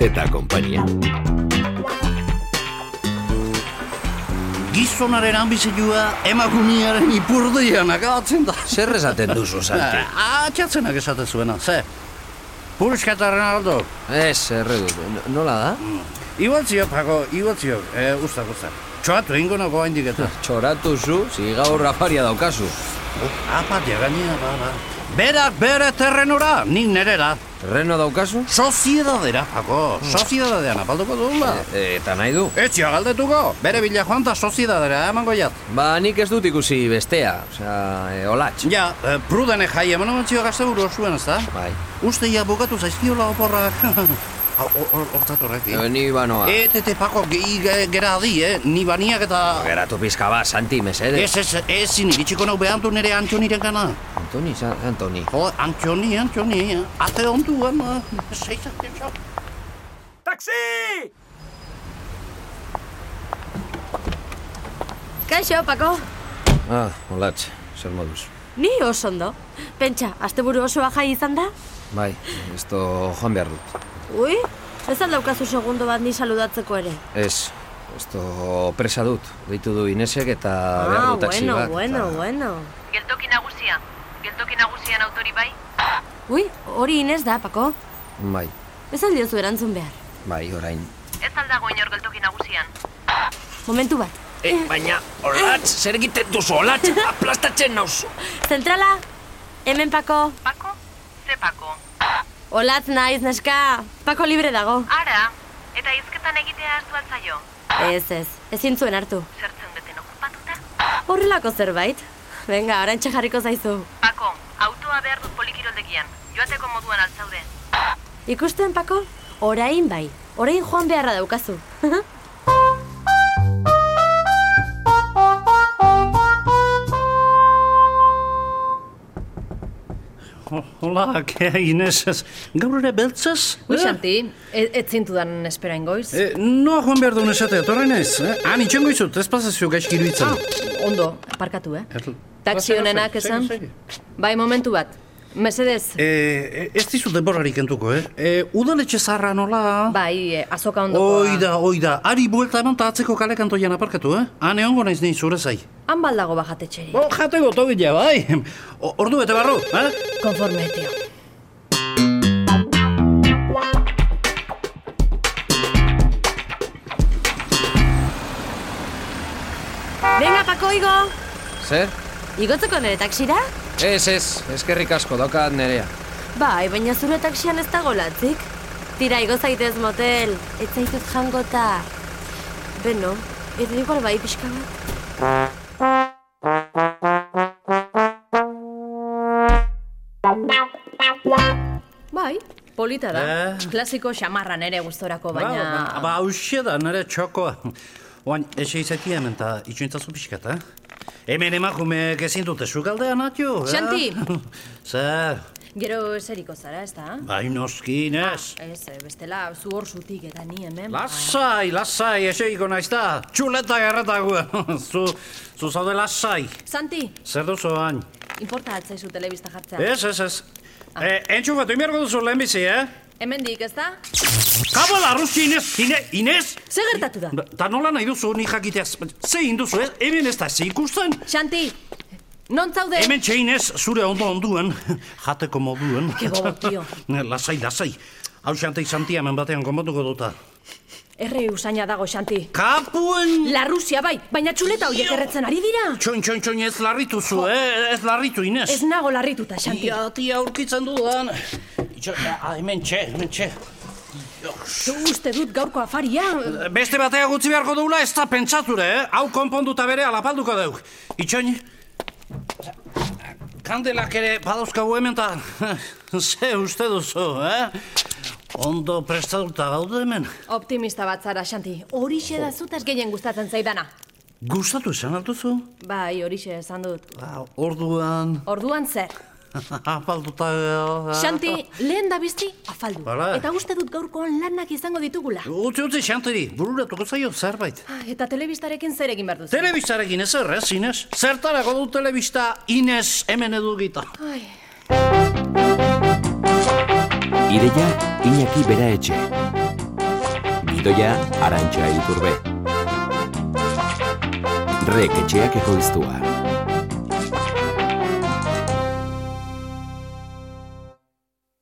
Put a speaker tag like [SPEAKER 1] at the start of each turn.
[SPEAKER 1] eta konpainia.
[SPEAKER 2] Gizonaren ambizioa emakumiaren ipurdian akabatzen da. Eh,
[SPEAKER 1] Zer esaten duzu, Santi?
[SPEAKER 3] Ah.
[SPEAKER 2] Atxatzenak esaten zuena, ze. Purxkatarren aldo.
[SPEAKER 1] Ez, erredu. N- Nola da?
[SPEAKER 2] Ibaltziok, Pako, ibaltziok. E, ustak, ustak. Txoatu ingo nago hain diketu.
[SPEAKER 1] Txoratu zu, zigaur rafaria daukazu.
[SPEAKER 2] Apatia gainera, ba, ba. Berak bere terrenora, nik nerera.
[SPEAKER 1] Terreno daukazu?
[SPEAKER 2] Soziedadera, Pako. Soziedadean apalduko dugula.
[SPEAKER 1] E, eta nahi du.
[SPEAKER 2] Etxia galdetuko, bere bila joan eta soziedadera emango jat.
[SPEAKER 1] Ba, nik ez dut ikusi bestea, osea, e, olatx.
[SPEAKER 2] Ja, e, prudene jai eman omentzio gazte buru zuen, ez da?
[SPEAKER 1] Bai.
[SPEAKER 2] Uste ja bukatu zaizkiola oporrak. Hau, hor- hor- Hortatorrek, eh?
[SPEAKER 1] E, ni banoa.
[SPEAKER 2] Et, et, pako, ge- ge- gera adi, eh? Ni baniak eta...
[SPEAKER 1] Geratu pizka bat, Santi, mesedez.
[SPEAKER 2] Ez, ez, ez, iritsiko nau behantu nire Antxoniren gana.
[SPEAKER 3] Eh.
[SPEAKER 1] Antoni, San, Antoni.
[SPEAKER 2] Jo, Antxoni, Antxoni, ate ondu, eh, ama. Zeizak,
[SPEAKER 4] Taxi!
[SPEAKER 3] Kaixo, Pako.
[SPEAKER 1] Ah, olatx, zer moduz.
[SPEAKER 3] Ni oso ondo. Pentsa, asteburu osoa jai izan da?
[SPEAKER 1] Bai, esto joan behar dut.
[SPEAKER 3] Ui, ez al daukazu segundo bat ni saludatzeko ere.
[SPEAKER 1] Ez, esto presa dut. Deitu du Inesek eta behar
[SPEAKER 3] ah,
[SPEAKER 1] du taxi
[SPEAKER 3] bueno,
[SPEAKER 1] bat.
[SPEAKER 3] bueno,
[SPEAKER 1] eta-
[SPEAKER 3] bueno.
[SPEAKER 5] Geltoki nagusia. Geltoki nagusian autori bai?
[SPEAKER 3] Ui, hori Inez da, Pako.
[SPEAKER 1] Bai,
[SPEAKER 3] Ez al diozu erantzun behar.
[SPEAKER 1] bai, orain.
[SPEAKER 5] Ez aldago inor geltoki nagusian.
[SPEAKER 3] Momentu bat.
[SPEAKER 4] E, baina, olatz, zer egiten duzu, olatz, aplastatzen nauzu.
[SPEAKER 3] Zentrala, hemen Pako.
[SPEAKER 5] Pako? Ze Pako?
[SPEAKER 3] Olatz naiz, neska. Pako libre dago.
[SPEAKER 5] Ara! Eta hizketan egitea hartu altzaio.
[SPEAKER 3] Ez, ez, ezin zuen hartu.
[SPEAKER 5] Zertzen beten okupatuta?
[SPEAKER 3] Horrelako zerbait. Venga, orain jarriko zaizu.
[SPEAKER 5] Pako, autoa behar dut polikiroldegian. Joateko moduan altzaude.
[SPEAKER 3] Ikusten, Pako? Orain bai. Orain joan beharra daukazu.
[SPEAKER 2] Hola, ke, Inez, ez. Gaur ere beltzez?
[SPEAKER 6] Ui,
[SPEAKER 2] eh?
[SPEAKER 6] Xanti, ez, ez zintudan espera ingoiz.
[SPEAKER 2] Eh, noa joan behar duen esatea, torre naiz. Eh? Han itxengo izut, ez pasazio gaizki iruditzen.
[SPEAKER 6] Ondo, parkatu, eh?
[SPEAKER 2] Erl-
[SPEAKER 6] Ah. Taxi
[SPEAKER 2] Ba,
[SPEAKER 6] honenak
[SPEAKER 2] segi,
[SPEAKER 6] esan.
[SPEAKER 2] segi, segi.
[SPEAKER 6] Bai, momentu bat. Mesedez,
[SPEAKER 2] Eh, ez dizut denborarik kentuko, eh? eh udaletxe zarra nola...
[SPEAKER 6] bai, eh, azoka ondokoa.
[SPEAKER 2] Oi da, oi da, ari buelta eman ta atzeko kale kantoian aparkatu, eh? Han egongo naiz nahi zure zai.
[SPEAKER 6] Han baldago bajatetxeri.
[SPEAKER 2] Bo, jateko togila, bai. O- Ordu eta barru, eh?
[SPEAKER 6] Konforme, tio.
[SPEAKER 3] Venga, Pako, igo!
[SPEAKER 1] Zer?
[SPEAKER 3] Igotzeko nire taksira?
[SPEAKER 1] Ez, ez, eskerrik asko, daukat nerea.
[SPEAKER 3] Bai, baina zure taksian ez dago latzik. Tira, igo zaitez motel, ez zaitez jango eta... Beno, ez igual bai pixka bat.
[SPEAKER 6] Bai, polita da.
[SPEAKER 2] Eh?
[SPEAKER 6] Klasiko xamarra nere gustorako, baina...
[SPEAKER 2] Ba, ba, hauxe da, nire txokoa. Oain, ese izati hemen eta itxointzazu pixkat, eh? Hemen emakumeek ezin dute sukaldean atio, eh?
[SPEAKER 6] Xanti!
[SPEAKER 2] Zer,
[SPEAKER 6] Gero eseriko zara, ez da?
[SPEAKER 2] bai noski, nes?
[SPEAKER 6] Ez, eh, bestela, zu hor zutik eta ni hemen.
[SPEAKER 2] Lasai, lasai, eseiko naiz da. Txuleta gerretagoa. zu, zu zaude lasai.
[SPEAKER 6] Santi,
[SPEAKER 2] Zer duzu hain?
[SPEAKER 6] importa atzaizu telebista jartzea.
[SPEAKER 2] Ez, ez, ez.
[SPEAKER 6] Ah.
[SPEAKER 2] Eh, entxufatu imiarko duzu lehenbizi, eh?
[SPEAKER 6] Hemendik, ez da?
[SPEAKER 2] Kabala, Rusi, Inez, Ine, Inez!
[SPEAKER 6] Ze gertatu da?
[SPEAKER 2] Ta nola nahi duzu ni jakiteaz, ze induzu, ez? Hemen ez da, ze ikusten?
[SPEAKER 6] Xanti, non zaude?
[SPEAKER 2] Hemen txe Inez, zure ondo onduan, jateko moduen. Eh,
[SPEAKER 6] Ke bobo, tio.
[SPEAKER 2] lasai, lasai. Hau xante izan tia, hemen batean konbatuko duta.
[SPEAKER 6] Erre usaina dago, Xanti.
[SPEAKER 2] Kapuen!
[SPEAKER 6] La Rusia bai, baina txuleta horiek erretzen ari dira.
[SPEAKER 2] Txoin, txoin, txoin, ez larritu zu, eh? Ez larritu, Inez.
[SPEAKER 6] Ez nago larrituta, Xanti.
[SPEAKER 2] Ia, tia, aurkitzen dudan. Itxo, ah, hemen txe, hemen txe.
[SPEAKER 6] Zu Uste dut gaurko afaria.
[SPEAKER 2] Beste batea gutzi beharko dugula ez da pentsature, eh? Hau konponduta bere alapalduko deuk. Itxoin... Kandelak ere badauzkagu hemen ta... Ze uste duzu, eh? Ondo prestatuta gaude hemen.
[SPEAKER 6] Optimista bat zara, Xanti. Horixe da zutaz gehien gustatzen zaidana.
[SPEAKER 2] Gustatu esan altuzu?
[SPEAKER 6] Bai, horixe esan dut.
[SPEAKER 2] Ba, orduan...
[SPEAKER 6] Orduan zer.
[SPEAKER 2] Apalduta... eh?
[SPEAKER 6] Xanti, lehen da bizti, afaldu.
[SPEAKER 2] Ah, Hala.
[SPEAKER 6] Eta uste dut gaurkoan lanak izango ditugula.
[SPEAKER 2] Utzi, utzi, Xantiri, bururatuko zaio zerbait.
[SPEAKER 6] Ah, Eta telebistarekin zer egin behar duzu.
[SPEAKER 2] Telebistarekin ezer, ez, Inez? Zertarako du telebista Inez hemen edugita.
[SPEAKER 6] Ai,
[SPEAKER 7] Ideia Iñaki Beraetxe. Gidoia Arantxa Iturbe. Rek etxeak ekoiztua.